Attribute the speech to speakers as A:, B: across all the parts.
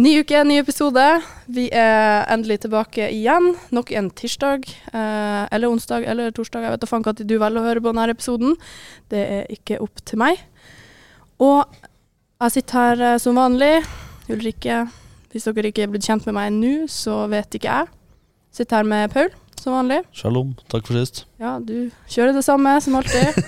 A: Ny uke, ny episode. Vi er endelig tilbake igjen. Nok en tirsdag, eh, eller onsdag eller torsdag. Jeg vet da faen når du velger å høre på denne episoden. Det er ikke opp til meg. Og jeg sitter her eh, som vanlig. Ulrikke, hvis dere ikke er blitt kjent med meg nå, så vet ikke jeg. Sitter her med Paul, som vanlig.
B: Shalom, takk for sist.
A: Ja, du kjører det samme som alltid.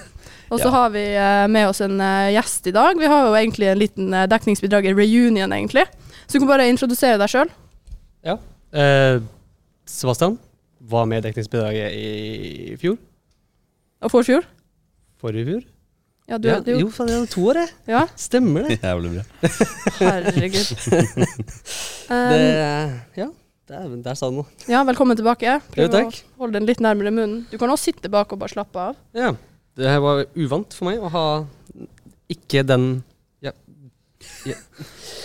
A: Og så
B: Ja.
A: har vi eh, med oss en eh, gjest i dag. Vi har jo egentlig en liten eh, dekningsbidrager reunion, egentlig. Så du kan bare introdusere deg sjøl.
C: Eh, Sebastian var med i dekningsbidraget i fjor.
A: Og forfjor.
C: Forrige fjor?
A: Ja, du,
C: ja,
A: du,
C: jo, faen, det er jo to år, jeg.
A: ja,
C: Stemmer det.
B: Jævlig bra.
A: herregud. Um,
C: det ja, dæven, der sa du noe.
A: ja, velkommen tilbake.
C: Jo, takk.
A: å holde den litt nærmere munnen. Du kan også sitte bak og bare slappe av.
C: Ja. Det her var uvant for meg å ha ikke den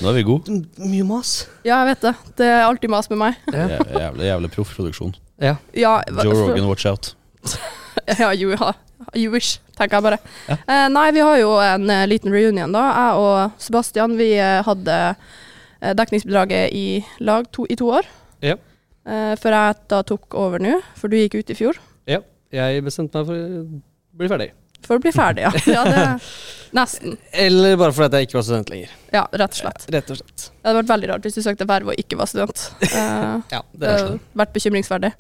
B: Nå er vi gode.
C: M- Mye mas.
A: Ja, jeg vet det. Det er alltid mas med meg.
C: Ja.
B: Jæ- Jævlig, jævlig proff produksjon.
C: ja.
A: Ja,
B: Joe Rogan, watch out.
A: Ja, you, ja. you wish, tenker jeg bare. Eh, nei, vi har jo en eh, liten reunion, da. Jeg og Sebastian vi eh, hadde eh, dekningsbidraget i lag to, i to år.
C: Ja.
A: Eh, før jeg da tok over nå, for du gikk ut i fjor.
C: ja. Jeg bestemte meg for å bli ferdig.
A: For å bli ferdig, ja. ja det, nesten.
C: Eller bare fordi at jeg ikke var student lenger.
A: Ja, rett og slett.
C: Rett og slett.
A: Det hadde vært veldig rart hvis du søkte verv og ikke var student. Eh,
C: Ja, det
A: det
C: er
A: har
C: sånn.
A: vært bekymringsverdig.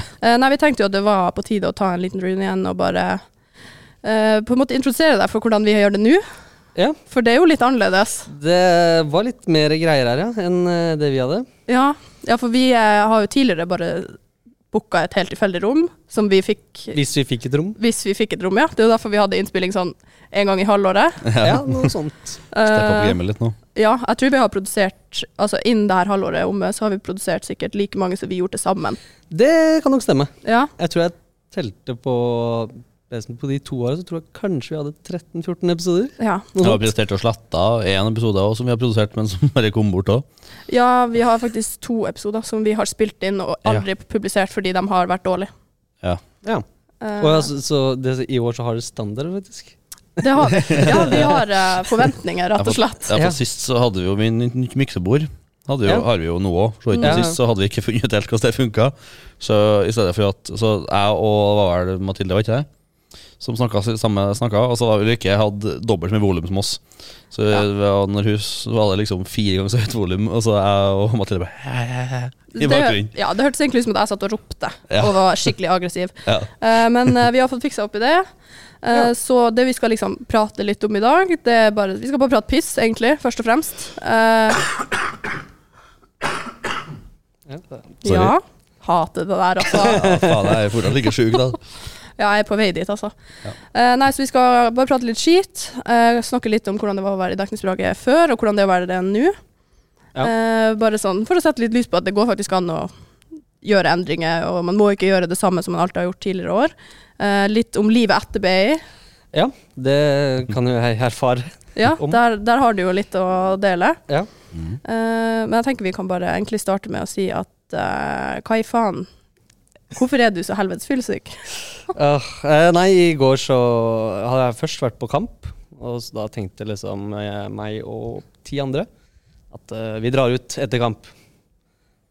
A: Eh, nei, vi tenkte jo at det var på tide å ta en liten runde igjen og bare eh, på en måte introdusere deg for hvordan vi gjør det nå.
C: Ja.
A: For det er jo litt annerledes.
C: Det var litt mer greier her, ja, enn eh, det vi hadde.
A: Ja, ja for vi eh, har jo tidligere bare booka et helt tilfeldig rom, som vi fikk
C: Hvis vi fikk et rom.
A: hvis vi fikk et rom, ja. Det er jo derfor vi hadde innspilling sånn en gang i halvåret.
C: Ja, noe sånt.
B: Stepp opp
A: Eh,
B: gamet litt nå.
A: ja, jeg tror vi har produsert Altså innen det her halvåret er omme, så har vi produsert sikkert like mange som vi gjorde til sammen.
C: Det kan nok stemme.
A: Ja,
C: Jeg tror jeg telte på På de to åra så tror jeg kanskje vi hadde 13-14 episoder.
A: ja.
C: Noe
B: Jeg har
C: sånt.
B: prestert å slette én episode også, som vi har produsert, men som bare kom bort òg.
A: ja, vi har faktisk to episoder som vi har spilt inn og aldri publisert fordi de har vært dårlige.
C: Ja.
A: Eh,
C: Og ja, så, så det, i år så har det standard, faktisk.
A: det har vi. Ja, vi har eh, forventninger, rett og slett.
B: Ja,
C: Ja.
B: for sist så hadde vi jo min nytt miksebord. Hadde jo,
C: Ja.
B: Har vi jo nå òg. Så ikke
C: Ja.
B: sist så hadde vi ikke funnet ut helt hvordan det funka. Så i stedet for at Så jeg og det var vel Mathilde, var ikke det? Som snakka, samme snakka, og så var Ulrikke hadde dobbelt så mye volum som oss. Så
A: Ja.
B: det var- når hun s- var det liksom fire ganger så høyt volum, og så jeg og Mathilde bare "Hæ, hæ, hæ", I bakgrunnen.
A: Det, ja, det hørtes egentlig ut som at jeg satt og ropte
B: Ja.
A: og var skikkelig aggressiv.
B: Ja.
A: Eh, men eh, vi har fått fiksa opp i det. Eh,
C: Ja.
A: Så det vi skal liksom prate litt om i dag, det er bare Vi skal bare prate piss, egentlig, først og fremst. Eh,
C: Ja, det-
B: Sorry.
A: ja. Hater det der, altså.
B: ja, faen, jeg er fortsatt like sjuk, da.
A: Ja, jeg er på vei dit, altså. Eh, nei, så vi skal bare prate litt skit. eh, snakke litt om hvordan det var å være i dekningsbidraget før, og hvordan det er å være det nå.
C: Ja.
A: Eh, bare sånn for å sette litt lys på at det går faktisk an å gjøre endringer, og man må ikke gjøre det samme som man alltid har gjort tidligere år. Eh, litt om livet etter BI.
C: ja, det kan jo jeg erfare.
A: Ja,
C: Om.
A: der, der har du jo litt å dele.
C: Ja.
A: Eh, men jeg tenker vi kan bare egentlig starte med å si at eh, hva i faen? Hvorfor er du så helvetes fyllesyk?
C: Ah, eh, nei, i går så hadde jeg først vært på kamp, og så da tenkte liksom eh, meg og ti andre at eh, vi drar ut etter kamp.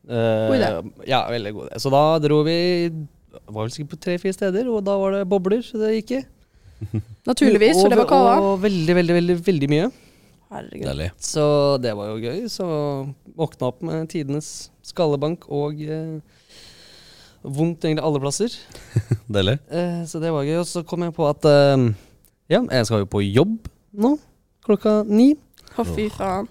C: Eh,
A: God idé.
C: Ja, veldig god idé. Så da dro vi var vel sikkert på tre-fire steder, og da var det bobler, så det gikk i.
A: Naturligvis, for det var
C: Og-
A: kava.
C: Og veldig, veldig, veldig, veldig mye.
A: Herregud.
B: Deilig.
C: Så det var jo gøy. Så våkna opp med tidenes skallebank og eh, vondt egentlig alle plasser.
B: Deilig.
C: Eh, så det var gøy. Og så kom jeg på at eh, ja, jeg skal jo på jobb nå klokka ni.
A: Å, fy faen.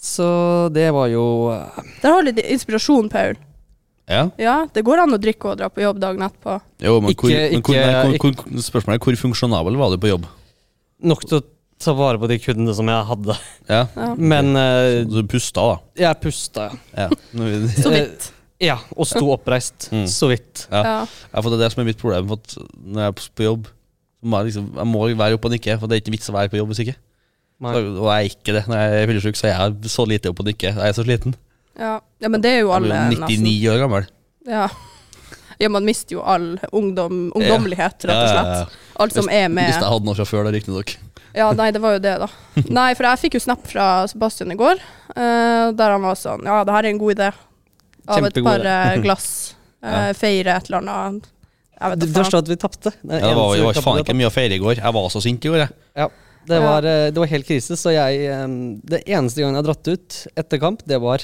C: Så det var jo eh,
A: Der har du litt inspirasjon, Paul.
B: Ja.
A: Ja, det går an å drikke og dra på jobb dagen etterpå.
B: Jo, men, hvor,
C: Ikke-
B: men hvor,
C: ikke-
B: nei, hvor, hvor, spørsmålet er hvor funksjonabel var du på jobb?
C: nok til å ta vare på de kundene som jeg hadde.
B: Ja.
A: Ja.
C: Men eh,
B: Så du pusta, da.
C: jeg pusta, ja.
B: Ja. Nå er vi-
A: Så vidt.
C: ja. Og sto oppreist.
B: Mm.
C: Så vidt.
B: Ja.
A: Ja.
B: Ja, for det er det som er mitt problem for at når jeg er på- på jobb. så Må jeg, liksom, jeg må være oppe og nikke, for det er ikke vits å være på jobb hvis ikke. Så,
C: Nei.
B: og jeg er ikke det. Når jeg er fyllesyk, så er jeg så lite oppe og nikke. Jeg er så sliten.
A: Ja. ja, men det er jo
B: Jeg
A: alle
B: blir jo 99 år gammel.
A: Ja. Ja, man mister jo all ungdom, ungdommelighet, rett og
B: Ja, ja, ja.
A: slett. Alt som er med
B: Hvis jeg hadde noe fra før, da, riktignok.
A: Ja, nei, det var jo det, da. Nei, for jeg fikk jo snap fra Sebastian i går, eh, der han var sånn Ja, det her er en god idé. Av et
C: Kjempegod
A: par
C: idé.
A: eh, glass. eh, Feire et eller annet. Jeg vet
C: Det
A: da
C: det
A: faen.
C: verste er at vi tapte. Den
B: Ja, det var,
C: eneste
B: det var faen
C: kampen vi
B: ikke mye å feire i går. Jeg var så sint i går, jeg.
C: Ja, det var, eh, det var helt krise, så jeg eh, Det eneste gangen jeg har dratt ut etter kamp, det var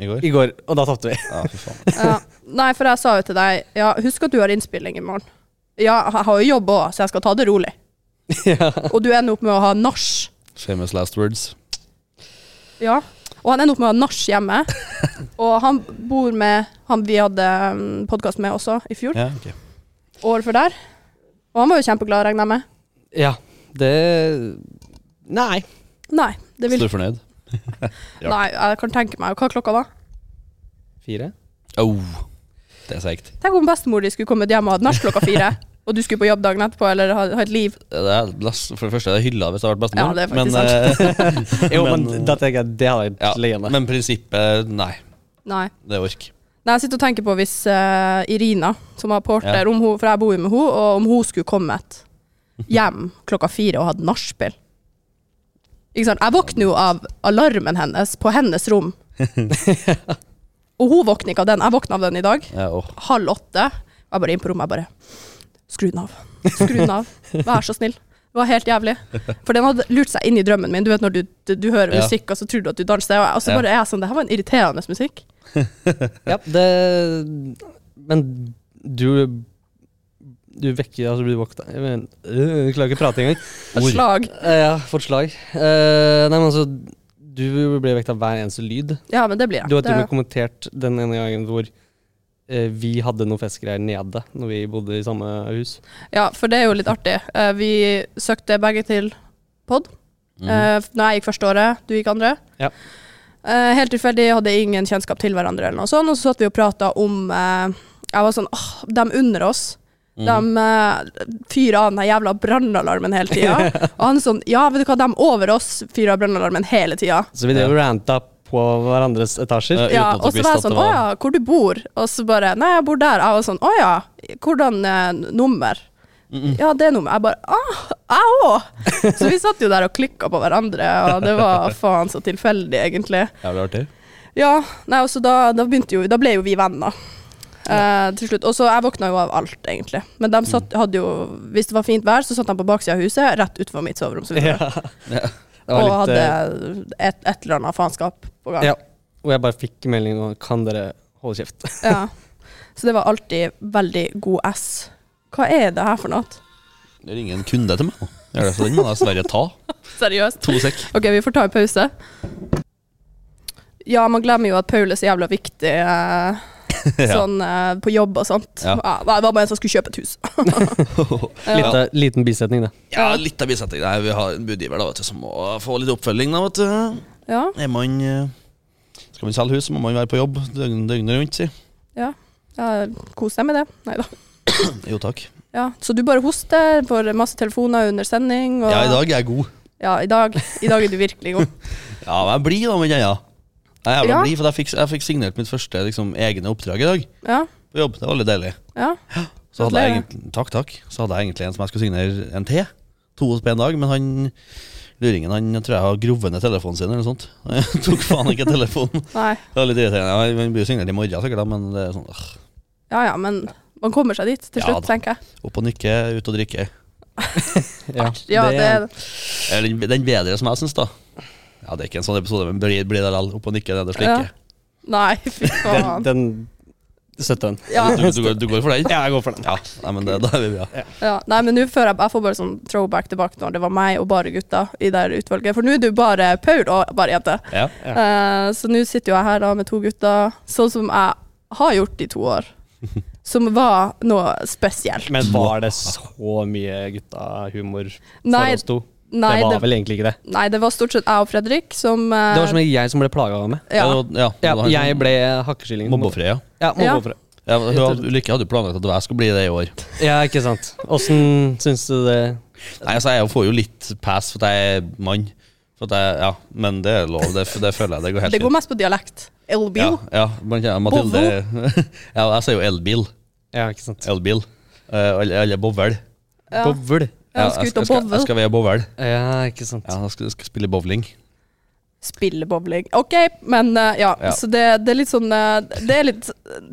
B: I går.
C: i går, og da tapte vi.
B: Ja, fy faen.
A: Ja. Nei, for jeg sa jo til deg Ja, husk at du har innspilling i morgen. Ja, jeg har jo jobb òg, så jeg skal ta det rolig.
C: ja.
A: Og du ender opp med å ha nach.
B: Famous last words.
A: Ja. Og han ender opp med å ha nach hjemme. Og han bor med han vi hadde podkast med også i fjor,
B: Ja, ok.
A: året før der. Og han var jo kjempeglad, regner jeg med.
C: ja, det Nei.
A: Nei, det
B: Så
A: vil
B: du er fornøyd? Ja.
A: Nei, jeg kan tenke meg hva klokka var.
C: Fire?
B: Au. det er seigt.
A: Tenk om bestemor di skulle kommet hjem og hatt nach klokka fire, og du skulle på jobb dagen etterpå eller ha, ha et liv.
B: Det er, for det første er det hylla hvis det har vært bestemor.
A: Ja, det er
B: men,
A: faktisk
B: eh,
C: Jo, men,
B: Men,
C: da tenker jeg det hadde jeg
B: ja,
C: liggende.
B: men prinsippet Nei,
A: Nei.
B: det ork.
A: Nei, jeg sitter og tenker på hvis eh, Irina, som var porter, om hun, for jeg bor jo med henne, og om hun skulle kommet hjem klokka fire og hatt nachspiel. Ikke sant? Jeg våkner jo av alarmen hennes på hennes rom. og hun våkner ikke av den. Jeg våkner av den i dag.
B: Ja, åh.
A: halv åtte. Og jeg bare inn på rommet, jeg bare Skru den av. Skru den av. Vær så snill. Det var helt jævlig. For den hadde lurt seg inn i drømmen min. Du vet når du, du, du hører
B: Ja.
A: musikk, og så tror du at du danser, og jeg- og så
B: Ja.
A: bare er jeg sånn Det her var en irriterende musikk.
C: Ja, det Men du Du vekker Altså, du våkna men, øh, Jeg klarer ikke å prate engang.
A: Et
B: Ord.
A: slag.
C: Eh, Ja, fått slag. Eh, nei, men altså Du blir vekket av hver eneste lyd.
A: Ja, men det blir jeg.
C: Du har til og med
A: Det,
C: kommentert den ene gangen hvor eh, vi hadde noen festgreier nede når vi bodde i samme hus.
A: ja, for det er jo litt artig. Eh, Vi søkte begge til pod.
C: Mhm.
A: Eh, Når jeg gikk første året, du gikk andre.
C: Ja.
A: Eh, helt tilfeldig, hadde ingen kjennskap til hverandre, eller noe sånt. Og så satt vi og prata om eh, Jeg var sånn Åh, de unner oss.
C: Mhm.
A: De eh, fyrer av den her jævla brannalarmen hele tida. Og han sånn Ja, vet du hva, de over oss fyrer av brannalarmen hele tida.
C: Så vi drev og ranta på hverandres etasjer.
B: Ja.
A: Ja,
B: Uten at du
A: og så
B: visste
A: var
B: at
A: jeg sånn
B: det
A: Å
B: var-
A: ja, hvor du bor? Og så bare Nei, jeg bor der. Jeg var sånn Å ja, hvordan eh, nummer? Ja, det nummer. Jeg bare ah, jeg òg! Så vi satt jo der og klikka på hverandre, og det var faen så tilfeldig, egentlig.
B: Jævlig artig.
A: Ja, nei, og så da, da, begynte jo, da ble jo vi venner. eh, til slutt. Og så jeg våkna jo av alt, egentlig. Men de satt, hadde jo, hvis det var fint vær, så satt de på baksida av huset, rett utenfor mitt soverom. så videre.
C: Ja. Det var
A: og
C: litt,
A: hadde
C: eh,
A: et, et eller annet faenskap på gang.
C: Ja. Og jeg bare fikk melding om Kan dere holde kjeft?
A: Ja. Så det var alltid veldig god S. Hva er det her for noe?
B: Det ringer en kunde til meg nå. Gjør det, så den må jeg dessverre ta.
A: Seriøst?
B: To sekk.
A: Ok, vi får ta en pause. Ja, man glemmer jo at Paul er så jævla viktig eh, sånn eh, på jobb og sånt.
B: Ja.
A: Ja, det var bare en som skulle kjøpe et hus.
C: Litt, eh, liten bisetning, det.
B: Ja, litt av bisetning. Nei, vi har en budgiver da, vet du, som må få litt oppfølging. da, vet du.
A: Ja.
B: Er man eh, Skal man selge hus, så må man være på jobb døgn, døgnet rundt, si.
A: Ja, ja kos deg med det. Neida.
B: Jo takk.
A: Ja, så du bare hoster, får masse telefoner under sending. Og,
B: Ja, i dag er jeg god.
A: Ja, i dag. I dag er du virkelig god.
B: Ja, men jeg blir da, men jeg, ja. Jeg er jævla
A: Ja.
B: blid, for jeg fikk, jeg fikk signert mitt første liksom, egne oppdrag i dag.
A: Ja,
B: På jobb. Det var veldig deilig.
A: ja.
B: Så hadde jeg
A: Gratulerer.
B: egentlig, takk, takk. Så hadde jeg egentlig en som jeg skulle signere en til. To på en dag, men han luringen han tror jeg har grovet ned telefonen sin eller noe sånt. Han tok faen ikke telefonen.
A: Nei.
B: Det var litt irriterende. Ja, Han blir jo signert i morgen sikkert, da, men det er sånn ah,
A: Ja, ja, men man kommer seg dit til
B: Ja
A: slutt,
B: da.
A: tenker jeg.
B: opp og nikke, ut og drikke.
C: Ja,
A: Ja, det,
B: Eller den- den bedre, som jeg syns, da. Ja, det er ikke en sånn episode, men blir blir det likevel. Opp og nikke, det er det slike.
A: Nei, fy
C: Den,
A: faen.
C: den støtter den.
A: Ja,
B: Du, du, går, du går for den?
C: Ja, jeg går for den.
B: Ja, nei, men det, da er vi bra.
A: ja. Nei, men nå før jeg, jeg får bare sånn throwback tilbake til når det var meg og bare gutta i det her utvalget. For nå er det jo bare Paul og bare jenter.
B: Ja.
A: Eh, så nå sitter jo jeg her da med to gutter, sånn som jeg har gjort i to år. Som var noe spesielt.
C: Men var det så mye guttahumor for
A: Nei,
C: oss to?
A: nei,
C: det var
A: det-
C: vel egentlig ikke det.
A: Nei, det var stort sett jeg og Fredrik som eh,
C: Det var som jeg som ble plaga av meg.
A: ja.
B: Det var- ja,
C: Ja,
B: det var han-
C: jeg ble hakkeskillingen.
B: Mobbefri, ja.
C: Ja,
A: Ja.
C: mobbeofre.
B: ja hun hadde- Ulrikke hadde jo planlagt at jeg skulle bli det i år.
C: Ja, ikke sant. Åssen syns du det
B: Nei, altså Jeg får jo litt pass for at jeg er mann. For at jeg, ja, Men det er lov. Det, det føler jeg det går helt
A: Det går mest på dialekt. Elbil.
B: Ja, ja, blant annet Mathilde
A: Volvo.
B: Ja, jeg sier jo elbil.
C: Ja, ikke sant.
B: elbil. Eh, og Eller, eller bovel.
A: Ja.
C: Bobl.
B: Ja,
A: Jeg skal ut
B: jeg,
A: og
B: skal, jeg
A: bowle.
B: skal veie bovel.
C: Ja, ikke sant.
B: Ja, jeg skal, jeg skal spille bowling.
A: Spille bowling. OK, men eh, ja.
B: Ja.
A: Så det, det er litt sånn eh, Det er litt,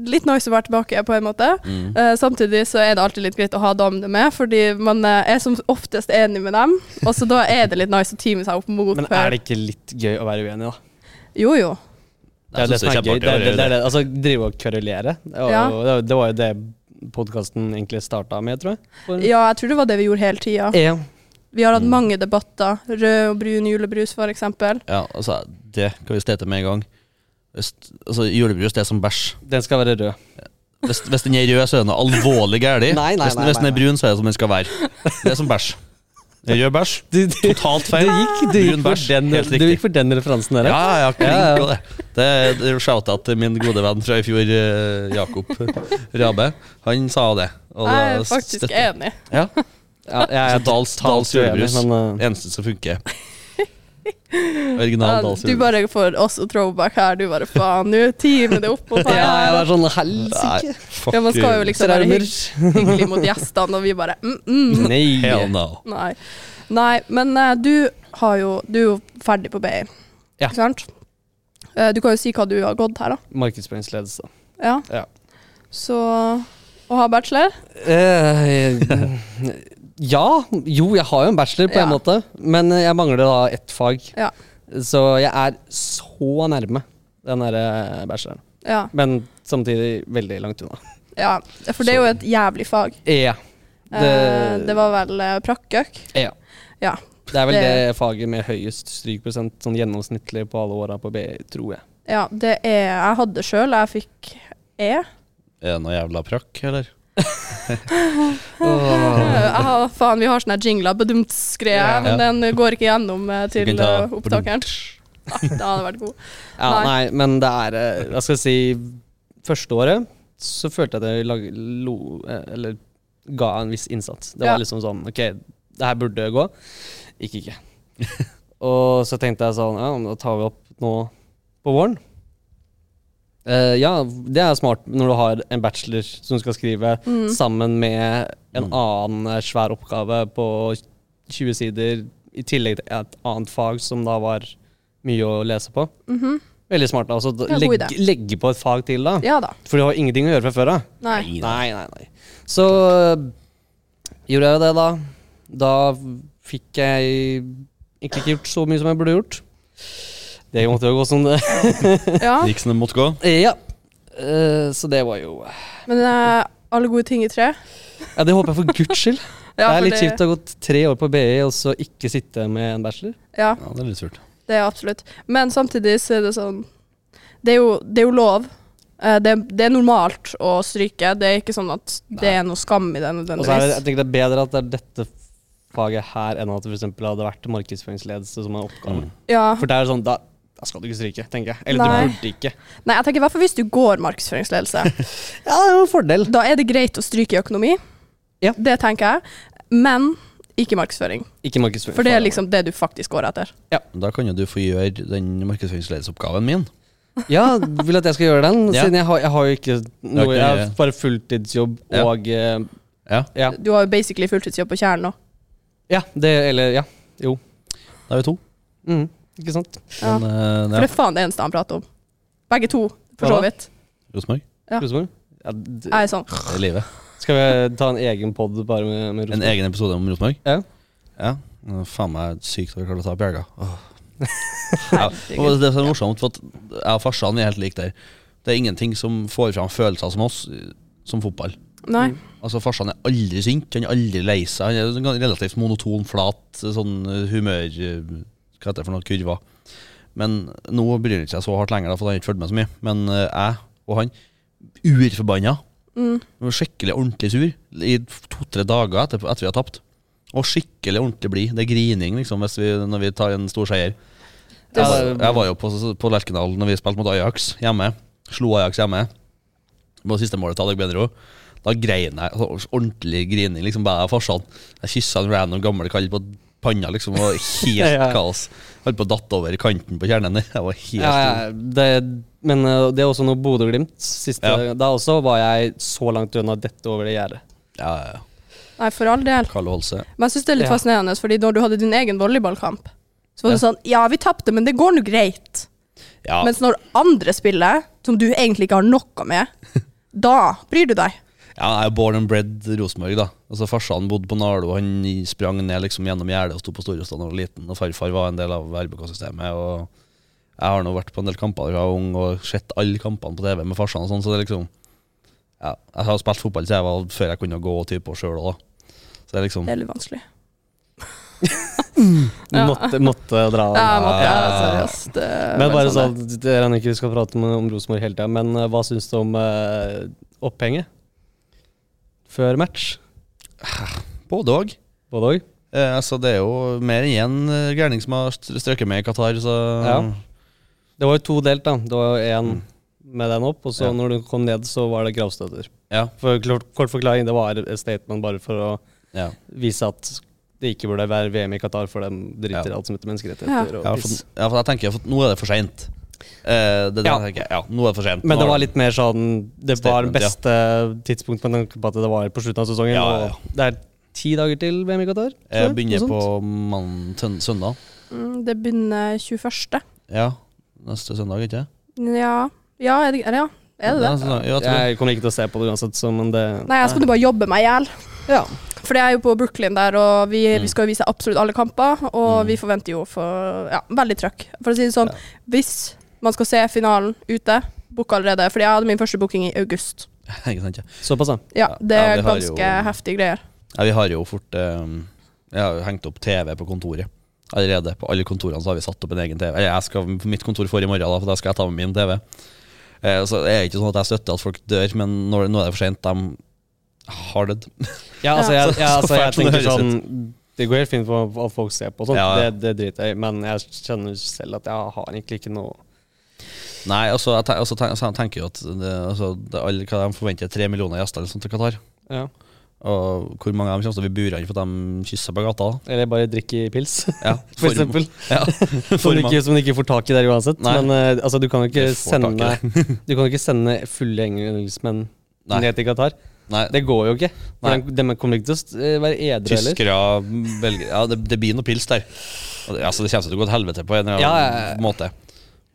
A: litt nice å være tilbake, på en måte.
B: Mm.
A: Eh, samtidig så er det alltid litt greit å ha damene med, fordi man eh, er som oftest enig med dem. Og så da er det litt nice å teame seg opp mot
C: Men er det ikke litt gøy å være uenig, da?
A: Jo, jo.
C: Det er
B: Jeg
C: det
B: synes
C: som er gøy.
B: kjempeartig å
C: Det er, det,
B: gjøre
C: det er, det. Altså, drive og kverulere. Det var,
A: Ja.
C: jo- det, var- det var jo det podkasten egentlig starta med, tror jeg. For-
A: Ja, jeg tror det var det vi gjorde hele tida.
C: Ja.
A: Vi har hatt
B: Mm.
A: mange debatter. Rød og brun julebrus, for eksempel.
B: Ja, altså, det kan vi stete med en gang. Hvis, altså, Julebrus det er som bæsj.
C: Den skal være rød.
B: Hvis, hvis den er rød, så er den alvorlig gæren.
C: Nei, nei,
B: Hvis, den-
C: nei,
B: hvis den er
C: nei,
B: brun, så er det som den skal være. Det er som bæsj. Rød bæsj.
C: Du, du,
B: Totalt feil.
C: gikk, du, gikk
B: Brun
C: for
B: bæsj,
C: den,
B: helt
C: du
B: riktig.
C: gikk for den referansen der.
B: Ja,
C: ja.
B: ja,
C: Ja,
B: klink
C: ja.
B: og det. Det det er eh, shout-out til min gode venn fra i fjor, eh, Jakob Rabe. Han sa det. og
A: Jeg
B: da
A: er faktisk
B: støtter-
A: enig.
B: Ja,
C: Ja, jeg er
B: Så Dals-
C: totalt
B: Dals julebrus.
C: uenig, Men, uh,
B: eneste som funker. Original
A: Ja, du
B: Dalsrud.
A: bare får oss og throwback her. Du bare faen, nå teamer det opp. Og faen.
C: ja, jeg var sånn helsike.
A: ja, man skal jo liksom være hygg,
C: Seraumer.
A: hyggelig mot gjestene, og vi bare mm, mm.
C: Nei.
B: Hell no.
A: Nei. Nei, men eh, du, har jo, du er jo ferdig på BI,
C: Ja.
A: ikke sant? Eh, du kan jo si hva du har gått her, da.
C: Markedsføringsledelse.
A: Ja.
C: Ja.
A: Så å ha bachelor
C: Eh, ja. Jo, jeg har jo en bachelor på en
A: Ja.
C: måte, men jeg mangler da ett fag.
A: Ja.
C: Så jeg er så nærme den derre bacheloren.
A: ja.
C: Men samtidig veldig langt unna.
A: ja. For det er jo et jævlig fag.
C: Ja.
A: Det, det var vel eh, prakkøk.
C: ja.
A: Ja.
C: Det er vel
A: Det-
C: det, faget med høyest strykprosent sånn gjennomsnittlig på alle åra på BI, tror jeg.
A: Ja, det er Jeg hadde sjøl, jeg fikk E.
B: Er det noe jævla prakk, eller?
A: Jeg har- faen, vi har sånne jingler, bedumts-greier,
C: Ja.
A: men den går ikke gjennom eh, til
B: kan ta
A: eh, opptakeren. Ja, det hadde vært god.
C: Ja,
A: Nei.
C: nei, men det er eh, Hva skal jeg si Første året så følte jeg at jeg lag, lo, eh, eller ga en viss innsats. Det
A: Ja.
C: var liksom sånn Ok, det her burde gå. Gikk ikke. og så tenkte jeg sånn Ja, men da tar vi opp nå på våren. Eh, ja, det er smart når du har en bachelor som du skal skrive
A: Mm.
C: sammen med en
B: Mm.
C: annen eh, svær oppgave på 20 sider, i tillegg til et annet fag som da var mye å lese på.
A: Mhm.
C: Veldig smart. da, Altså, da-
A: Ja, god
C: legge,
A: idé.
C: legge på et fag til, da.
A: Ja da.
C: For du har ingenting å gjøre fra før av.
A: Nei.
C: Nei, nei, nei. Så øh, gjorde jeg jo det, da. Da fikk jeg egentlig ikke gjort så mye som jeg burde gjort. Det måtte jo gå som det
A: Ja,
B: Det gikk som det måtte gå.
C: Ja. Eh, så det var jo
A: men eh, alle gode ting i tre.
C: Ja, det håper jeg for guds skyld.
A: Ja,
C: det er
A: for
C: litt kjipt å ha gått tre år på BI og så ikke sitte med en bachelor.
A: Ja,
B: Ja, det er litt surt.
A: det er absolutt. Men samtidig så er det sånn Det er jo, det er jo lov. Eh, Det, det er normalt å stryke. Det er ikke sånn at det er noe skam i det
C: Og så er det, jeg
A: nødvendigvis.
C: tenker det er bedre at det er dette faget her enn at det for eksempel hadde vært markedsføringsledelse som er oppgaven.
B: Mm.
A: Ja.
C: For det er sånn, da, da skal du ikke stryke, tenker jeg. Eller
A: Nei.
C: du burde ikke.
A: Nei, jeg tenker i hvert fall hvis du går markedsføringsledelse.
C: Ja, det er jo en fordel.
A: Da er det greit å stryke i økonomi.
C: Ja.
A: Det tenker jeg. Men ikke markedsføring.
C: Ikke markedsføring.
A: For det er liksom det du faktisk går etter.
B: Da kan jo du få gjøre den markedsføringsledelsesoppgaven min.
C: Ja, vil at jeg skal gjøre den,
B: Ja.
C: siden jeg har, jeg har jo ikke noe
B: ikke
C: Jeg har
B: det.
C: bare fulltidsjobb
B: Ja.
C: og eh,
B: Ja.
C: ja.
A: Du har jo basically fulltidsjobb på Tjern nå.
C: ja. Det eller ja. Jo.
B: Da er vi to.
C: Mm, ikke sant?
A: Ja.
B: Men eh,
A: For
B: ja.
A: det er faen det eneste han prater om. Begge to, for så
C: Hva da?
A: vidt.
B: Rosenborg,
A: Ja.
C: Rosenborg? Ja, d-
A: Jeg er sånn.
B: det er livet.
C: skal vi ta en egen pod bare med, med
B: En
C: Rosenborg?
B: egen episode om Rosenborg?
C: Ja.
B: Ja. Nå, Faen meg sykt at vi klarte å ta opp Bjerga. Åh. Ja,
A: Herregud.
B: og Det som er morsomt, for at jeg og farsan vi er helt like der. Det er ingenting som får fram følelser som oss, eh, som fotball.
A: Nei.
B: Altså Farsan er aldri sint, han er aldri lei seg. Han er relativt monoton, flat, sånn eh, humør eh, Hva heter det for noe? Kurva. Men nå bryr han seg så hardt lenger, da, for han har ikke fulgt med så mye. Men eh, jeg og han, urforbanna.
A: Mm.
B: Han var Skikkelig ordentlig sur i to-tre dager etterpå, etter vi har tapt. Og skikkelig ordentlig blid. Det er grining liksom, hvis vi, når vi tar en stor seier.
A: Det
B: Jeg
A: er
B: var, jeg var jo på, på Lerkendal når vi spilte mot Ajax hjemme. Slo Ajax hjemme. På siste målet til Alec Benro. Da grein jeg. Altså, ordentlig grining. liksom bare farsan. Jeg kyssa en random gammel kall på panna. liksom, og Helt
C: Ja.
B: kaos. Holdt på å datt over kanten på kjernen. der. Jeg var helt
C: Ja, ja, det, Men eh, det er også noe Bodø-Glimt. Siste
B: Ja.
C: Da også var jeg så langt unna dette over det gjerdet.
B: Ja, ja, ja.
A: Nei, for all del.
B: Kalle Holse.
A: Men jeg syns det er litt
C: Ja.
A: fascinerende, fordi når du hadde din egen volleyballkamp, så var det
B: Ja.
A: sånn Ja, vi tapte, men det går nå greit.
B: Ja.
A: Mens når andre spiller, som du egentlig ikke har noe med, da bryr du deg.
B: Ja, jeg er born and bred Rosenborg, da. Altså Farsan bodde på Nardo, og han sprang ned liksom gjennom gjerdet og sto på Storestad da jeg var liten. Og farfar var en del av RBK-systemet. Og jeg har nå vært på en del kamper da jeg var ung, og sett alle kampene på TV med farsan og sånn, så det er liksom Ja, jeg har spilt fotball siden jeg var før jeg kunne gå type og sjøl òg, da. Så det er liksom
A: Det er litt vanskelig.
C: Du
A: Ja.
C: måtte, måtte dra.
A: Ja, jeg måtte, ja,
B: ja.
A: seriøst. det er
C: Men bare
A: sånn
C: sånn, jeg regner ikke vi skal prate om, om Rosenborg hele tida, men eh, hva syns du om eh, opphenget? Før match?
B: Både òg.
C: Både òg?
B: Eh, altså, det er jo mer enn én eh, gærning som har str- strøket med i Qatar, så
C: Ja. Det var jo to delt, da. Det var én med den opp, og
B: Mm.
C: så
B: Ja.
C: når du kom ned, så var det gravstøtter.
B: Ja.
C: For kort, kort forklaring, det var et statement bare for å
B: ja.
C: vise at det ikke burde være VM i Qatar, for de driter i
B: Ja.
C: alt som heter menneskerettigheter.
B: Ja,
C: Og
B: for,
C: piss.
B: ja, for jeg tenker at nå er det for seint. Eh, det, det
C: Ja.
B: tenker jeg. Ja, nå er det for sent.
C: Men
B: Nå
C: det
B: har-
C: var litt mer sånn Det var det
B: Statement, ja.
C: beste tidspunktet med tanke på at det var på slutten av sesongen.
B: Ja, ja, ja.
C: Og det er ti dager til VM i Qatar.
B: Jeg
C: tror jeg,
B: Eh, begynner
C: Sånn, noe
B: på
C: sånt.
B: mann- tøn- søndag.
A: Mm, Det begynner 21.
B: Ja, neste søndag, ikke sant?
A: Ja, ja er det er det, ja? Er det det?
B: Ja, jeg tror det.
C: Jeg kommer ikke til å se på det uansett, så, men det
A: Nei, jeg skulle bare jobbe meg i hjel.
C: Ja.
A: For det er jo på Brooklyn der, og vi,
B: Mm.
A: vi skal jo vise absolutt alle kamper. Og vi forventer jo for ja, veldig trøkk. For å si det sånn,
B: Ja.
A: hvis man skal se finalen ute, book allerede. Fordi jeg hadde min første booking i august.
B: Ikke sant, ja.
C: Såpass, ja.
A: Ja,
B: Ja,
A: det
B: ja,
A: er
B: vi har jo-
A: ganske heftige greier.
B: ja, vi har jo fort ehm, Jeg har jo hengt opp TV på kontoret. Allerede på alle kontorene så har vi satt opp en egen TV. Eller Jeg skal, mitt kontor får i morgen, da, for da skal jeg ta med min TV. Eh, så det er ikke sånn at jeg støtter at folk dør, men når, nå er det for sent. De har dødd.
C: ja, altså,
B: Ja.
C: jeg,
B: Så
C: ja, altså, jeg
B: fælt som det
C: tenker
B: høres
C: sånn Det går helt fint for at folk ser på og sånt,
B: Ja, ja.
C: Det, det driter jeg i, men jeg kjenner selv at jeg har egentlig ikke noe
B: Nei, altså, jeg, ten, altså, ten, altså, jeg tenker jo at det, altså, det, er alle, hva de forventer tre millioner gjester eller sånt til Qatar.
C: ja.
B: Og hvor mange av dem kommer til å bli buret inn for at de kysser på gata? da?
C: Eller bare drikke pils,
B: Ja,
C: for eksempel.
B: Ja,
C: Som du,
B: forma.
C: ikke, som du ikke får tak i der uansett.
B: Nei.
C: Men eh, altså, du kan jo ikke
B: Jeg får tak i
C: sende Du kan jo ikke sende fulle engelskmenn
B: Nei.
C: ned til Qatar.
B: Nei,
C: Det går jo ikke.
B: Nei.
C: For De kommer ikke til å st- eh, være edru heller.
B: tyskere, belgere Ja, det, det blir noe pils der. Og det- Altså, det kommer til å gå til helvete på en eller annen
C: Ja, ja, ja.
B: måte.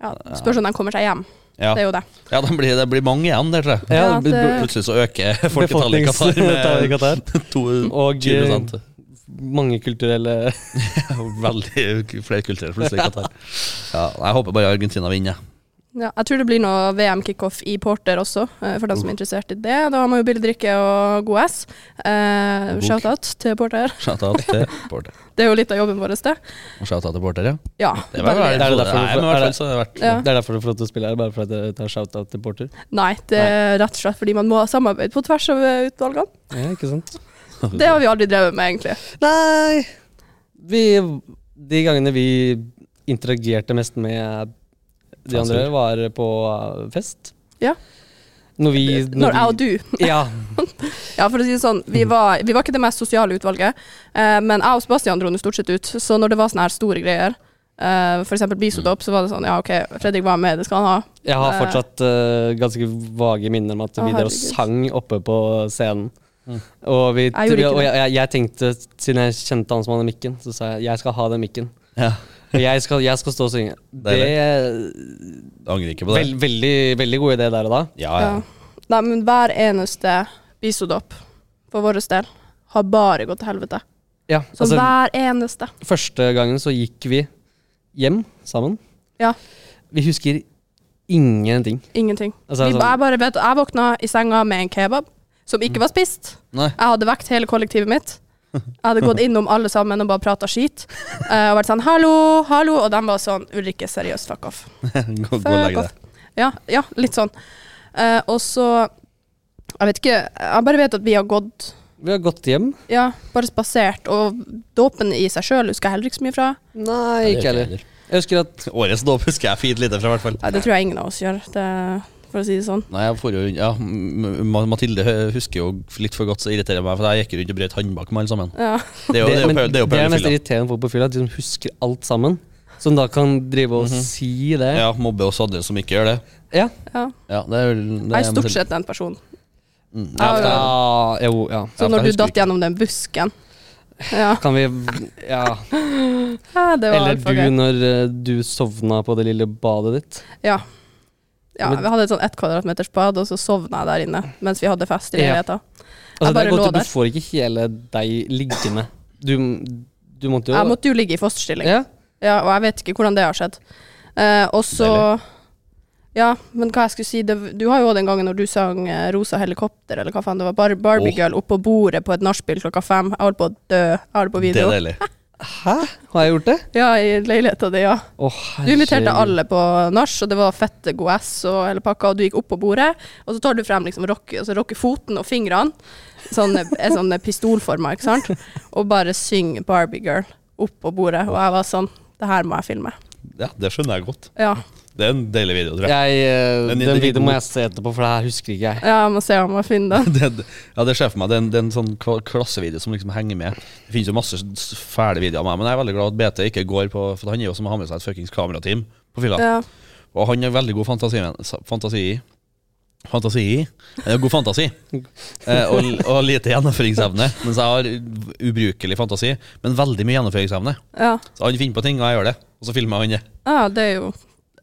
A: Ja, spørs om de kommer seg hjem.
B: Ja,
A: Det er jo det.
B: ja det, blir, det blir mange igjen der, tror jeg.
C: Ja,
A: Ja,
C: b-
A: det-
B: Plutselig så øker
C: b-
B: folketallet i Qatar
C: befolkningstallet i
B: med
C: Qatar.
B: to-
C: Og eh,
B: 20
C: mange kulturelle
B: Veldig flere kulturer plutselig i Qatar. Ja, jeg håper bare Argentina vinner.
A: Ja, jeg tror det blir noe VM-kickoff i Porter også, eh, for dem som er interessert i det. Da har man jo billig drikke og god ass. Eh,
B: Og bok.
A: Shout-out til Porter.
B: Shout-out til Porter.
A: Det er jo litt av jobben vår, det.
B: Og Shout-out til Porter, ja.
A: Ja,
B: Det var,
A: veldig.
B: det
C: Det er
B: er
C: det derfor-
B: Nei, men i hvert
C: er
B: fall
C: det-
B: så har det vært
A: Ja.
C: Det er derfor du får lov til å spille her, bare for at dere tar shout-out til Porter.
A: Nei, det er rett og slett fordi man må ha samarbeid på tvers av eh, utvalgene.
C: Ja, ikke sant?
A: Det har vi aldri drevet med, egentlig.
C: Nei vi, De gangene vi interagerte mest med eh, de
B: Faen,
C: andre,
B: sur.
C: var på eh, fest.
A: Ja.
C: Når vi
A: Når jeg og
C: vi-
A: du
C: Ja.
A: Ja, for å si det sånn, vi var, vi var ikke det mest sosiale utvalget, eh, men jeg og Sebastian dro nå stort sett ut. Så når det var sånne her store greier, eh, for eksempel bisotopp, så var det sånn Ja, OK, Fredrik var med, det skal han ha.
C: Jeg har
A: Eh.
C: fortsatt eh, ganske vage minner om at
A: Å,
C: vi der og
A: herregud.
C: sang oppe på scenen.
B: Mm.
C: Og, vi,
A: Jeg gjorde ikke
C: og
A: det.
C: jeg, jeg, jeg tenkte, siden jeg kjente han som hadde mikken, så sa jeg jeg skal ha den mikken.
B: Ja,
C: Og jeg skal, jeg skal stå og synge. Det er
B: jeg Angrer ikke på
C: veld,
B: det.
C: veldig, veldig god idé der og da.
B: Ja, ja.
A: Ja. Nei, men hver eneste bisotopp for vår del har bare gått til helvete.
C: Ja,
A: Så
C: altså,
A: hver eneste.
C: første gangen så gikk vi hjem sammen.
A: Ja,
C: Vi husker ingenting.
A: ingenting.
C: Altså,
A: vi,
C: sånn-
A: jeg bare vet Jeg våkna i senga med en kebab som ikke var spist.
B: Nei.
A: Jeg hadde vekt hele kollektivet mitt. Jeg hadde gått innom alle sammen og bare prata skit. eh, og vært sånn 'hallo, hallo', og de var sånn 'Ulrikke, seriøst, fuck off'.
B: Gå, gå og
A: Fuck
B: legg deg.
A: off. Ja, ja, litt sånn. Eh, og så Jeg vet ikke, jeg bare vet at vi har gått
C: Vi har gått hjem.
A: Ja, bare spasert. Og dåpen i seg sjøl husker jeg heller ikke så mye fra.
C: Nei, ikke heller. Jeg husker at
B: Årets dåp husker jeg fint lite fra, i hvert fall.
A: Nei, det tror jeg ingen av oss gjør, det, for å si det sånn.
B: Nei, jeg får jo, ja, M- Ma- Mathilde hø- husker jo litt for godt, så irriterer jeg meg, for jeg gikk jo rundt og brøt håndbak med alle sammen.
A: Ja.
B: Det er jo, det er jo,
C: men
B: pau- det er jo
C: det mest
B: paulefylla.
C: irriterende folk på fylla, at de
B: Mhm.
C: som husker alt sammen. Som da kan drive og si det.
B: Ja, mobbe oss andre som ikke gjør det.
C: Ja.
A: Ja.
B: Ja, det er, vel- det
A: Jeg er stort
B: selv-
A: sett den personen.
B: Mm,
A: Ja,
B: for det er-
C: Ja, jo, ja.
B: Ja,
A: Så når
B: jeg
A: du
B: husker
A: datt
B: ikke.
A: gjennom den busken Ja,
C: Kan vi Ja.
A: Ja, det var
C: Eller
A: altfor
C: du
A: gøy.
C: når eh, du sovna på det lille badet ditt.
A: Ja. ja.
C: Men-
A: Vi hadde et sånn ett kvadratmeters bad, og så sovna jeg der inne mens vi hadde fest i
C: Ja.
A: leiligheten.
C: Altså,
A: Jeg
C: det
A: bare
C: er godt
A: lå
C: at du
A: der.
C: får ikke hele deg liggende. Du, du måtte jo
A: Jeg måtte jo ligge i fosterstilling, ja.
C: ja.
A: og jeg vet ikke hvordan det har skjedd. Eh, og så Ja, men hva jeg skulle si det, Du har jo òg den gangen når du sang eh, 'Rosa helikopter', eller hva faen det var, Bar Barbie
B: Åh.
A: Girl oppå bordet på et nachspiel klokka fem. Jeg holdt på å dø. Jeg holdt på
B: Det
A: video.
B: er deilig.
C: Hæ? Har jeg gjort det?
A: Ja, i leiligheta di, ja.
C: Å,
A: Du inviterte
C: herregud.
A: alle på nach, og det var fette god ass og hele pakka, og du gikk opp på bordet, og så tar du frem liksom rock, altså rocker foten og fingrene, sånn, er sånn pistolforma, ikke sant, og bare syng Barbie Girl opp på bordet, og jeg var sånn, det her må jeg filme.
B: Ja, det skjønner jeg godt.
A: Ja,
B: Det er en deilig video, tror jeg.
C: Jeg, eh,
B: Den-
C: den
B: den-
C: videoen må jeg se etterpå, for det her husker ikke jeg.
A: ja jeg må se om jeg finner den.
B: Det, det- ja, det ser jeg for meg. Det er en, det er en sånn kva- klassevideo som liksom henger med. Det finnes jo masse s- s- fæle videoer av meg, men jeg er veldig glad at BT ikke går på For han er jo som å ha med seg et fuckings kamerateam på fylla.
A: Ja.
B: Og han har veldig god fantasi, fantasi i. Fantasi i. Eh, God fantasi. Eh, og, og lite gjennomføringsevne. Mens jeg har ubrukelig fantasi, men veldig mye gjennomføringsevne.
A: Ja.
B: Så han finner på ting, og jeg gjør det. Og så filmer han det.
A: ja, det er jo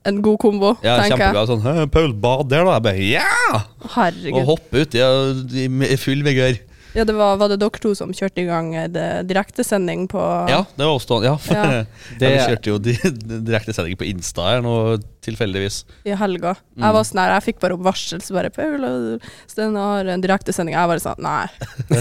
A: en god kombo,
B: Jeg er
A: tenker jeg.
B: kjempeglad sånn «Hæ, 'Paul, bad der, da?' Jeg bare 'ja!' Og
A: Herregud.
B: hopper uti og- i i full vigør.
A: Ja, det var, var det dere to som kjørte i gang eh, det direktesending på...
B: Ja, det var også Ja.
A: Ja.
B: Ja, vi
C: Det-
B: kjørte jo di- direktesending på Insta her nå, tilfeldigvis.
A: i helga.
B: Mm.
A: Jeg var sånn her, jeg fikk bare opp varsel, så bare Paul og Sten har en direktesending. Jeg bare sånn, nei.
B: Det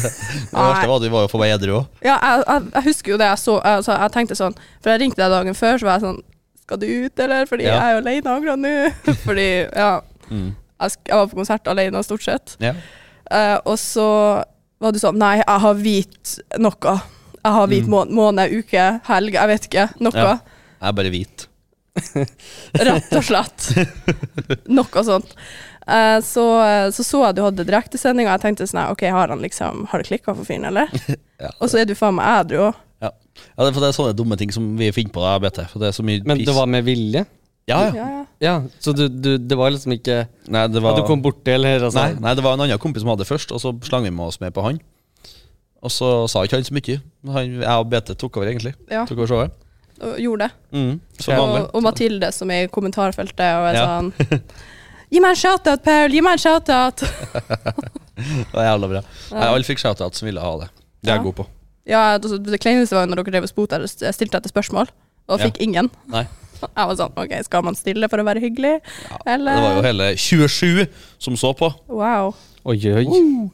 B: verste var at vi var jo for meg edru òg.
A: Ja, jeg, jeg, jeg husker jo det jeg så, altså, jeg tenkte sånn, for jeg ringte deg dagen før, så var jeg sånn, skal du ut, eller? Fordi
B: Ja. Mm.
A: jeg er jo alene akkurat nå. Fordi, ja, jeg, sk- jeg var på konsert alene stort sett.
B: Ja.
A: Eh, og så var du sånn, nei, jeg har hvit noe. Jeg har hvit må måned, uke, helg, jeg vet ikke, noe.
B: Mm. Ja. Jeg er bare hvit.
A: Rett og slett. Noe sånt. Eh, Så så, så jeg du hadde direktesending, og jeg tenkte sånn her, OK, har han liksom Har det klikka for fyren, eller?
B: Ja.
A: Og så er du faen meg ædru òg.
B: Ja. ja, det er for det er sånne dumme ting som vi finner på da, BT. For det er så mye
C: Men det var med vilje?
B: Ja, ja.
A: Ja, ja.
C: Ja, så du, du, det var liksom ikke
B: Nei, det
C: at
B: var
C: du kom borti eller altså.
B: nei, nei, det var en annen kompis som hadde det først, og så slang vi med oss med på han. Og så sa ikke han så mye. Han, jeg og BT tok over, egentlig.
A: Ja.
B: Tok over showet.
A: Og gjorde det.
B: Mm, som
C: Ja.
A: Og,
B: vanlig.
A: og Mathilde, som er i kommentarfeltet, og er
B: Ja.
A: sånn Gi meg en shout-out, Paul! Gi meg en shout-out!
B: Det var jævla bra. Nei, alle fikk shout-out som ville ha det. Det er jeg
A: Ja.
B: god på.
A: Ja, altså, det kleineste var jo når dere drev og spota, jeg stilte etter spørsmål, og
B: Ja.
A: fikk ingen.
B: Nei.
A: Jeg var sånn OK, skal man stille for å være hyggelig,
B: Det var jo
A: eller
B: hele 27 som så på.
A: Wow.
C: Oi, oi.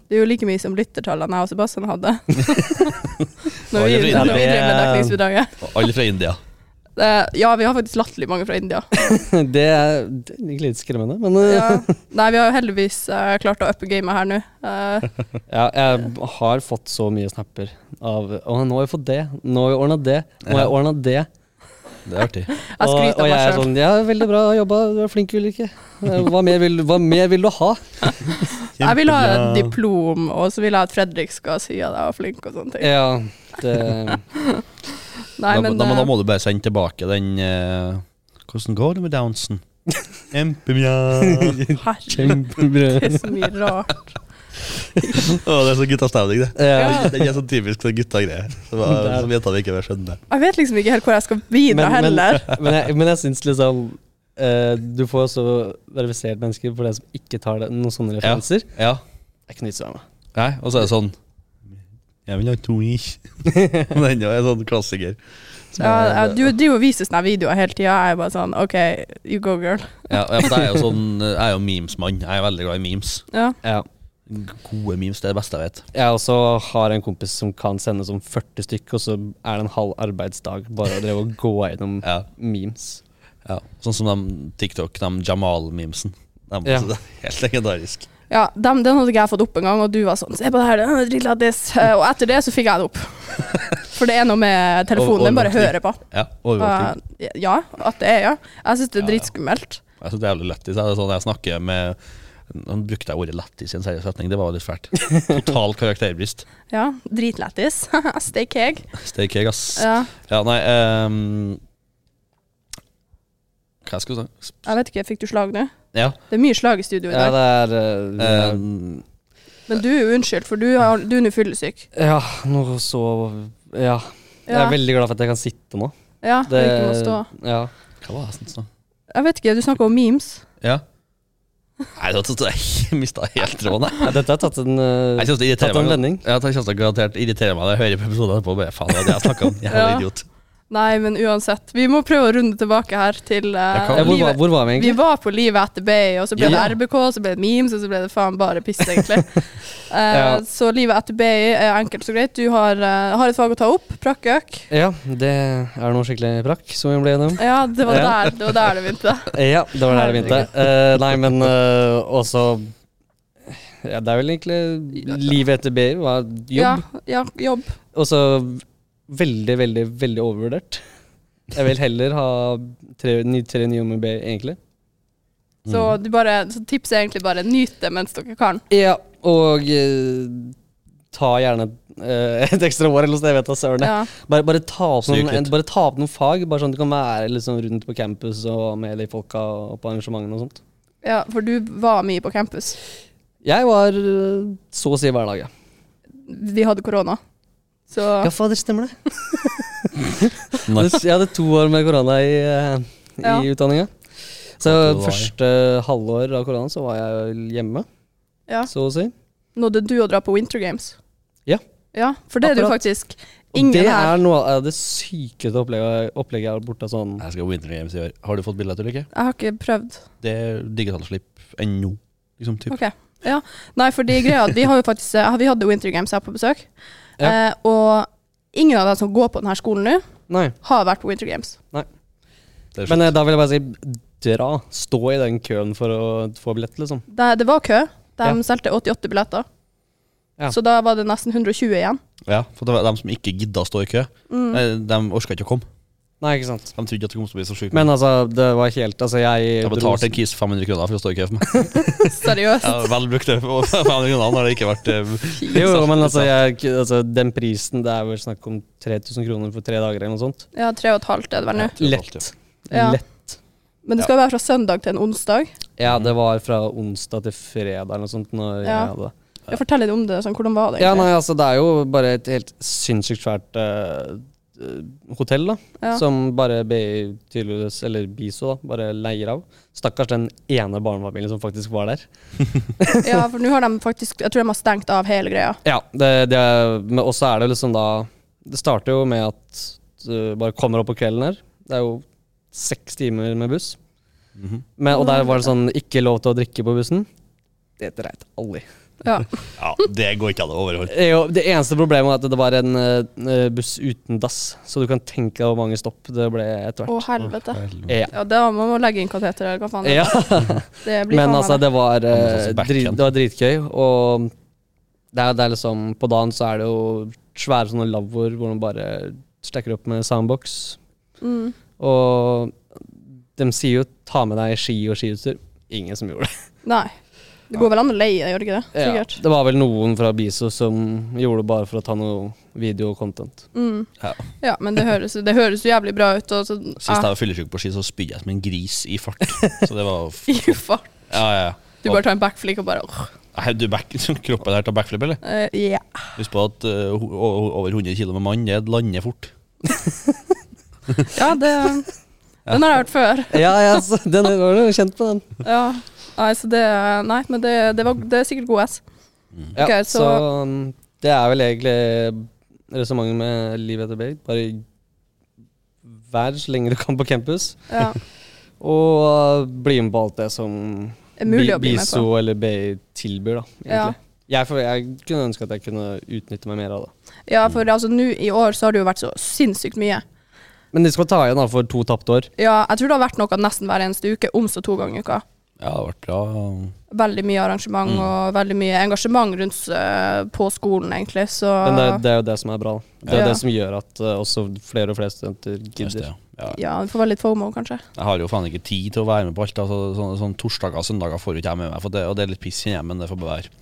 A: Det er jo like mye som lyttertallene jeg og Sebastian hadde. når vi,
B: Alle fra
A: når vi
C: India.
A: drev med dekningsbidraget.
B: Og alle fra India.
A: Eh, ja, vi har faktisk latterlig mange fra India.
C: Det er det er litt skremmende, men eh,
A: Ja. Nei, vi har jo heldigvis eh, klart å uppe gamet her nå. Eh,
C: ja, jeg har fått så mye snapper av Å, nå har jeg fått det. Nå har jeg ordna det. Nå har jeg ordna det.
B: Det er artig.
A: jeg
C: Og,
A: skryter
C: og
A: av
C: jeg
A: meg
C: er
A: sjøl.
C: sånn Ja, veldig bra jobba. Du er flink, Ulrikke. Eh, Hva mer vil, hva mer vil du ha?
A: Jeg vil ha et
B: Kjempebra.
A: diplom, og så vil jeg at Fredrik skal si at jeg var flink og sånne ting.
C: Ja, det
A: Nei,
B: da,
A: men,
B: da, men da
A: eh,
B: må du bare sende tilbake den eh, Hvordan går det med downsen? Empemja. Å,
A: eh, herregud,
C: Kjempebra.
A: det er så mye rart.
B: det er så guttastemning, det.
C: Eh,
A: Ja.
B: Det er så typisk sånn guttagreie. Som
C: Det er-
B: jeg- som jentene ikke vil skjønne.
A: Jeg vet liksom ikke helt hvor jeg skal bidra
C: Men- men-
A: heller.
C: Men jeg, men jeg syns liksom eh, Du får også verifisert mennesker for det som ikke tar det, noen sånne referanser.
B: Ja.
C: Det er ikke noe vits i å være med.
B: Nei, og så er det sånn Jeg vil ha to ish. Den er en sånn klassiker. Som
A: Ja,
B: er-
A: jeg- du driver og viser sånne videoer hele tida. Jeg er bare sånn OK, you go, girl.
B: Ja, ja, for jeg er jo sånn Jeg er jo memesmann. Jeg er veldig glad i memes.
A: Ja.
C: Ja.
B: Gode memes, det er det beste jeg vet.
C: Jeg også har en kompis som kan sende som 40 stykk, og så er det en halv arbeidsdag bare å dreve og gå gjennom
B: Ja,
C: memes.
B: ja. Sånn som de TikTok, de Jamal-memesen. De-
C: Ja.
B: Det er Helt legendarisk.
A: Ja, dem, den hadde ikke jeg fått opp en gang, og du var sånn Se på det her, den er dritlættis. Eh, Og etter det så fikk jeg det opp. For det er noe med
B: Og-
A: telefonen, den bare
B: overvåkning.
A: hører på.
B: Ja, overvåkning.
A: Eh, ja, at det er, ja. Jeg syns det er
B: Ja, ja.
A: dritskummelt.
B: Jeg synes det er jævlig lettis. Jeg, sånn, jeg snakker med Han brukte jeg ordet lettis i en seriøs setning, det var litt fælt. Total karakterbrist.
A: Ja, dritlættis. Stay keg.
B: Steak egg, ass.
A: Ja.
B: Ja, nei ehm, Hva skulle du si?
A: Jeg vet ikke, fikk du slag nå?
B: Ja.
A: Det er mye slag i studio i
C: Ja,
A: dag.
C: det er eh,
B: eh,
A: Men du er jo unnskyldt, for du, har, du er nå fyllesyk.
C: Ja, nå så Ja. Jeg
A: Ja,
C: er veldig glad for at jeg kan sitte nå.
A: ja, det, ikke må stå.
C: ja.
B: hva var det jeg snakket om?
A: Jeg vet ikke, du snakker om memes.
B: Ja. Nei, det, det, jeg mista helt tråden, jeg.
C: Dette har tatt en, eh,
B: Jeg synes det irriterer
C: tatt en
B: meg.
C: vending.
B: Ja, det kommer til å garantert irritere meg når jeg hører på episoden etterpå. og Bare, faen, det er det jeg snakket om. Jævla
A: Ja.
B: idiot.
A: Nei, men uansett. Vi må prøve å runde tilbake her til eh,
B: Jeg kan-
C: Ja, hvor, var-
A: livet.
C: hvor var vi
A: Vi
C: egentlig?
A: var på livet etter Bay, og så ble
B: Ja.
A: det RBK, og så ble det memes, og så ble det faen bare piss, egentlig. Eh,
C: Ja.
A: Så livet etter Bay er enkelt og greit. Du har, eh, har et fag å ta opp, prakkøk.
C: Ja, det er noe skikkelig brakk som vi ble gjennom.
A: Ja, det var
C: Ja.
A: der det, var der det begynte.
C: Ja, det var der det begynte. Eh, nei, men eh, også ja, Det er vel egentlig livet etter BI var jobb.
A: Ja, ja, jobb.
C: Og så veldig, veldig, veldig overvurdert. Jeg vil heller ha tre, ny, tre nye med BI, egentlig.
A: Så,
C: Mm.
A: du bare, så tipset er egentlig bare nyt det mens dere kan.
C: Ja, og eh, ta gjerne eh, et ekstra år eller noe sånt, jeg vet da søren.
A: Ja.
C: Bare, bare, ta opp
B: Sykt
C: noen,
B: litt.
C: bare ta opp noen fag, bare sånn at du kan være liksom rundt på campus og med de folka og på arrangementene og sånt.
A: Ja, for du var mye på campus.
C: Jeg var eh, så å si hver dag, ja.
A: Vi hadde korona. Så
C: Ja, fader, stemmer det.
B: Nei.
C: Jeg hadde to år med korona i, eh, i
A: Ja.
C: utdanninga. Så
B: At du var i-
C: første halvår av korona så var jeg vel hjemme,
A: ja.
C: så å si.
A: nådde du å dra på Winter Games.
C: Ja.
A: Ja, For det er du
C: Akkurat.
A: faktisk
C: Og
A: ingen
C: det
A: her.
C: er noe av det sykeste opplegget, opplegget jeg har vært borte av sånn.
B: Jeg skal på Winter Games i år. Har du fått billett eller ikke?
A: Jeg har ikke prøvd.
B: Det er digital slipp ennå. Liksom, typ.
A: Ok. Ja. Nei, fordi greia er at vi har jo faktisk eh, Vi hadde Winter Games her på besøk.
C: Ja.
A: Eh, og ingen av dem som går på denne skolen nå,
C: Nei.
A: har vært på Winter Games.
B: Det er
C: Men
B: slutt.
C: eh, da vil jeg bare si dra. Stå i den køen for å få billett, liksom.
A: Det, det var kø. De
C: Ja.
A: solgte 88 billetter.
C: Ja.
A: Så da var det nesten 120 igjen.
B: ja, for det var dem som ikke gidda å stå i kø,
C: Mm.
B: Nei, de orka ikke å komme.
C: Nei, ikke sant.
B: De trodde at det kom til å bli så sjukt.
C: Men altså, det var helt Altså, jeg
B: jeg
C: dro-
B: betalte en kis 500 kroner for å stå i kø for meg.
A: Seriøst.
B: Jeg har vel brukt det på 500 kroner når det ikke har vært eh,
C: Jo, jo, men altså, jeg, altså, den prisen Det er vel snakk om 3000 kroner for tre dager eller noe sånt.
A: Ja, tre og et halvt er det vel nå.
B: tre og et halvt,
C: Lett.
A: Ja.
C: Lett.
A: Men det skal jo være fra søndag til en onsdag.
C: Ja, det var fra onsdag til fredag eller noe sånt. Når jeg
A: Ja.
C: hadde.
A: Ja, Fortell litt om det. Sånn, hvordan var det?
C: Ja,
A: egentlig?
C: nei, altså, det er jo bare et helt sinnssykt svært eh, eh, hotell, da.
A: Ja.
C: Som bare BI tydeligvis, eller BISO, da, bare leier av. Stakkars den ene barnefamilien som faktisk var der.
A: Ja, for nå har de faktisk Jeg tror de har stengt av hele greia.
C: Ja, det, det er, men også er det liksom da Det starter jo med at du bare kommer opp på kvelden her. Det er jo seks timer med buss.
B: Mhm.
C: Men, og der var det sånn ikke lov til å drikke på bussen. Det dreit alle i.
A: Ja.
B: Ja, det går ikke an å overholde.
C: Det er jo- Det eneste problemet var at det var en eh, buss uten dass, så du kan tenke deg hvor mange stopp det ble etter hvert.
A: Å, helvete.
C: Ja.
A: Ja, da må man legge inn kateter eller hva faen. det er.
C: Ja.
A: Det blir
C: Men
A: faen
C: altså,
A: meg det.
C: det var,
B: Han må ta
C: eh,
B: seg back
C: drit,
B: igjen.
C: det var dritgøy. Og det er, det er liksom På dagen så er det jo svære sånne lavvoer hvor man bare stacker opp med soundbox.
A: Mm.
C: Og de sier jo 'ta med deg ski og skiutstyr'. Ingen som gjorde det.
A: Nei. Det går vel an å leie, gjør det ikke det?
C: Ja.
A: Sikkert.
C: Det var vel noen fra Biso som gjorde det bare for å ta noe video og content.
A: Mm.
B: Ja.
A: Ja, men det høres, det høres jo jævlig bra ut. Og så,
B: Sist jeg
A: ah,
B: var fyllesyk på ski, så spydde jeg som en gris i fart. Så det var f-
A: i fart.
B: Ja, ja, ja.
A: Ah, Du bare tar en backflick og bare åh.
B: Nei, Du back, kroppen her tar backflip, eller?
A: Eh, Ja.
B: Husk på at eh, ho- o- over 100 kg med mann, det lander fort.
A: Ja, det Den har jeg hørt før.
C: Ja, ja, så den var du kjent på, den.
A: Ja. Nei, så det Nei, men det, det, var, det er sikkert god S.
C: Ja,
A: Ok,
C: så, um, det er vel egentlig resonnementet med livet etter Bate. Bare vær så lenge du kan på campus,
A: Ja.
C: og uh, bli med på alt det som
A: Er mulig å bli med
C: BISO
A: på.
C: eller BI tilbyr, da.
A: Ja.
C: egentlig. Jeg, for, jeg kunne ønske at jeg kunne utnytte meg mer av det.
A: Ja, for altså nå i år så har det jo vært så sinnssykt mye.
C: Men de skal ta igjen da for to tapte år.
A: Ja, jeg tror det har vært noe nesten hver eneste uke, om så to ganger i uka.
B: Ja, det ble bra.
A: Veldig mye
C: Mm.
A: arrangement og veldig mye engasjement rundt eh, på skolen, egentlig. Så
C: Men det, det er jo det som er bra. da. Det er jo
A: Ah. Ja.
C: det som gjør at eh, også flere og flere studenter gidder.
B: Ja. Ja.
A: ja, det får være litt fomo, kanskje.
B: Jeg har jo faen ikke tid til å være med på alt. Altså, sånne, sånne torsdager og søndager får jo ikke jeg med meg, for det, og det er litt piss, kjenner jeg, men det får bare være.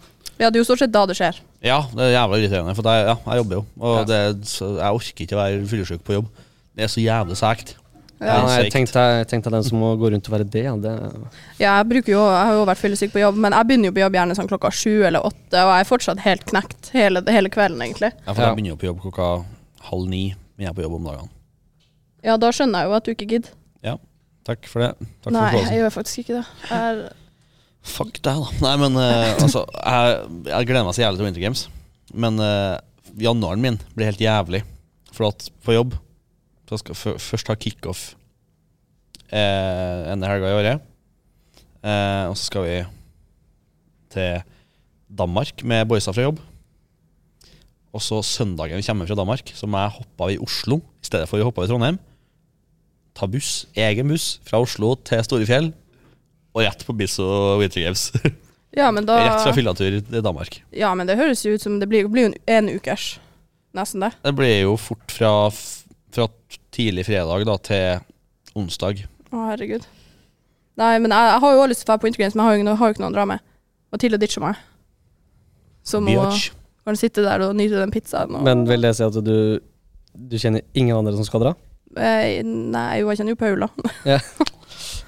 A: Ja, det er jo stort sett da det skjer.
B: Ja, det er jævla irriterende, for jeg, ja, jeg jobber jo, og
C: Ja.
B: det, så jeg orker ikke å være fyllesyk på jobb. Det er så jævlig sækt.
C: Ja,
B: Det er
C: nei, jeg
B: sykt.
C: tenkte, jeg tenkte den som må gå rundt og være det, ja, det
A: Ja, jeg, bruker jo, jeg har jo vært fyllesyk på jobb, men jeg begynner jo på jobb gjerne sånn klokka sju eller åtte, og jeg er fortsatt helt knekt hele, hele kvelden, egentlig.
B: Ja, for
C: Ja.
B: jeg begynner jo på jobb klokka halv ni. Men jeg er på jobb om dagene.
A: Ja, da skjønner jeg jo at du ikke gidder.
B: Takk for det. Takk
A: Nei,
B: for forståelsen.
A: jeg gjør faktisk ikke det. Jeg er
B: Fuck deg, da. Nei, men eh, altså jeg, jeg gleder meg så jævlig til Winter Games. Men eh, januaren min blir helt jævlig. For at på jobb Så skal jeg fø- først ha kickoff eh, en helg i året. Eh, og så skal vi til Danmark med boysa fra jobb. Og så søndagen vi kommer fra Danmark, så må jeg hoppe av i Oslo i stedet for å hoppe av i Trondheim. Ta buss, egen buss, fra Oslo til Storefjell og rett på Biz og Winter Games.
A: Ja, men
B: Rett fra
A: da
B: fyllatur i Danmark.
A: Ja, men det høres jo ut som det blir blir jo en, en ukers. Nesten det.
B: Det ble jo fort fra, f- fra tidlig fredag da, til onsdag.
A: Å, herregud. Nei, men jeg, jeg har jo også lyst til å dra på Intergrains, men jeg har jo, ikke noe- har jo ikke noen å dra med. Mathilde ditcher meg. Så må
B: Biatch.
A: kan sitte der og nyte den pizzaen. Og,
C: Men vil det si at du, du kjenner ingen andre som skal dra?
A: Eh, nei, jo, jeg kjenner jo Paula.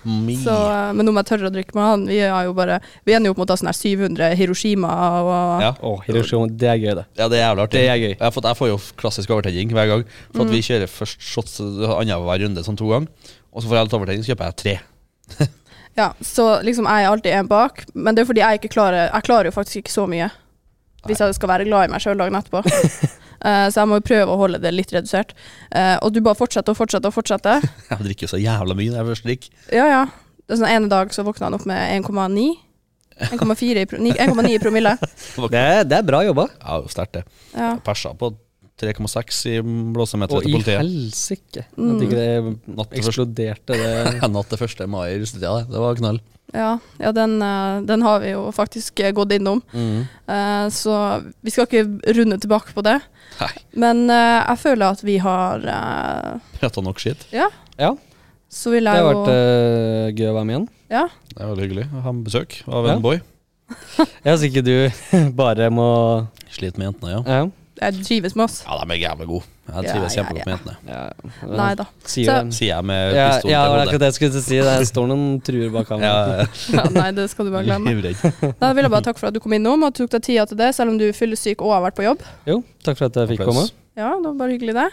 B: Mi.
A: Så, eh, men om jeg tør å drikke med han Vi er jo bare Vi ender jo opp mot å ha sånn her 700 Hiroshima og
B: Ja.
C: Å, Hiroshima, det er gøy, det.
B: ja, det er jævlig artig.
C: Det er gøy.
B: Jeg, får, jeg får jo klassisk overtenning hver gang. For
A: Mm.
B: at Vi kjører først shots annenhver runde, sånn to ganger. Og så får jeg litt overtenning, så kjøper jeg tre.
A: Ja, så liksom jeg er alltid en bak, men det er fordi jeg ikke klarer Jeg klarer jo faktisk ikke så mye. Hvis jeg skal være glad i meg sjøl dagen etterpå. Eh, så jeg må jo prøve å holde det litt redusert. Eh, og du bare fortsetter og fortsetter og fortsetter.
B: Jeg drikker jo så jævla mye når jeg først drikker.
A: Ja, ja. Det er sånn ene dag så våkna han opp med 1,9. 1,4 i pro- ni- 1,9 i promille.
C: Det, det er bra jobba.
B: Ja, det er jo sterkt, det.
A: Ja.
B: Jeg Persa på 3,6 i blåsemeteret
C: Og
B: til
C: i
B: politiet.
C: helsike. At ikke det
B: Natt til første-
C: Mm. eksploderte, det
B: Natt til 1. mai i russetida, det. det var knall.
A: Ja, ja den, eh, den har vi jo faktisk eh, gått innom.
C: Mm.
A: Eh, så vi skal ikke runde tilbake på det.
B: Nei,
A: Men eh, jeg føler at vi har eh,
B: prata nok skitt.
A: Ja,
C: Ja,
A: så vil
C: det
A: jeg
C: har
A: jo
C: vært eh, gøy å være med igjen.
A: Ja.
B: Det er veldig hyggelig å ha besøk av
C: Ja.
B: en boy.
C: Jeg syns ikke du bare må
B: Sliter med jentene, ja.
C: Ja.
A: Jeg trives med oss.
B: Ja, de er jævlig gode. Jeg
A: Ja,
B: trives
A: ja,
B: kjempegodt med jentene.
C: ja.
A: Nei da.
C: Sier
A: Så-
C: det.
B: Sier jeg med
C: Ja,
B: pistol
C: ja, det var
B: til
C: akkurat
B: hodet.
C: det jeg skulle si. Det står noen truer bak ham.
B: Ja, ja,
A: Ja, nei, det skal du bare
B: ja.
A: glemme.
B: Livredd.
A: Da vil jeg bare takke for at du kom innom og tok deg tida til det, selv om du er fyllesyk og har vært på jobb.
C: Jo, takk for at jeg fikk komme.
B: Applaus.
A: Ja, det var bare hyggelig det.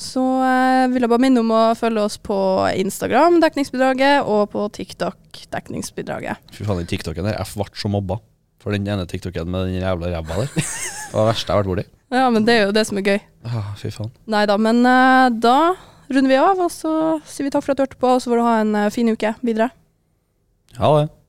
A: Så eh, vil jeg bare minne om å følge oss på Instagram, Dekningsbidraget, og på TikTok, Dekningsbidraget.
B: Fy faen, den TikToken der. Jeg ble så mobba for den ene TikToken med den jævla ræva der. Det var det verste jeg har vært borti.
A: Ja, men det er jo det som er gøy.
B: Ah, fy faen.
A: Nei da, men eh, da runder vi av, og så sier vi takk for at du hørte på, og så får du ha en eh, fin uke videre.
B: Ha det.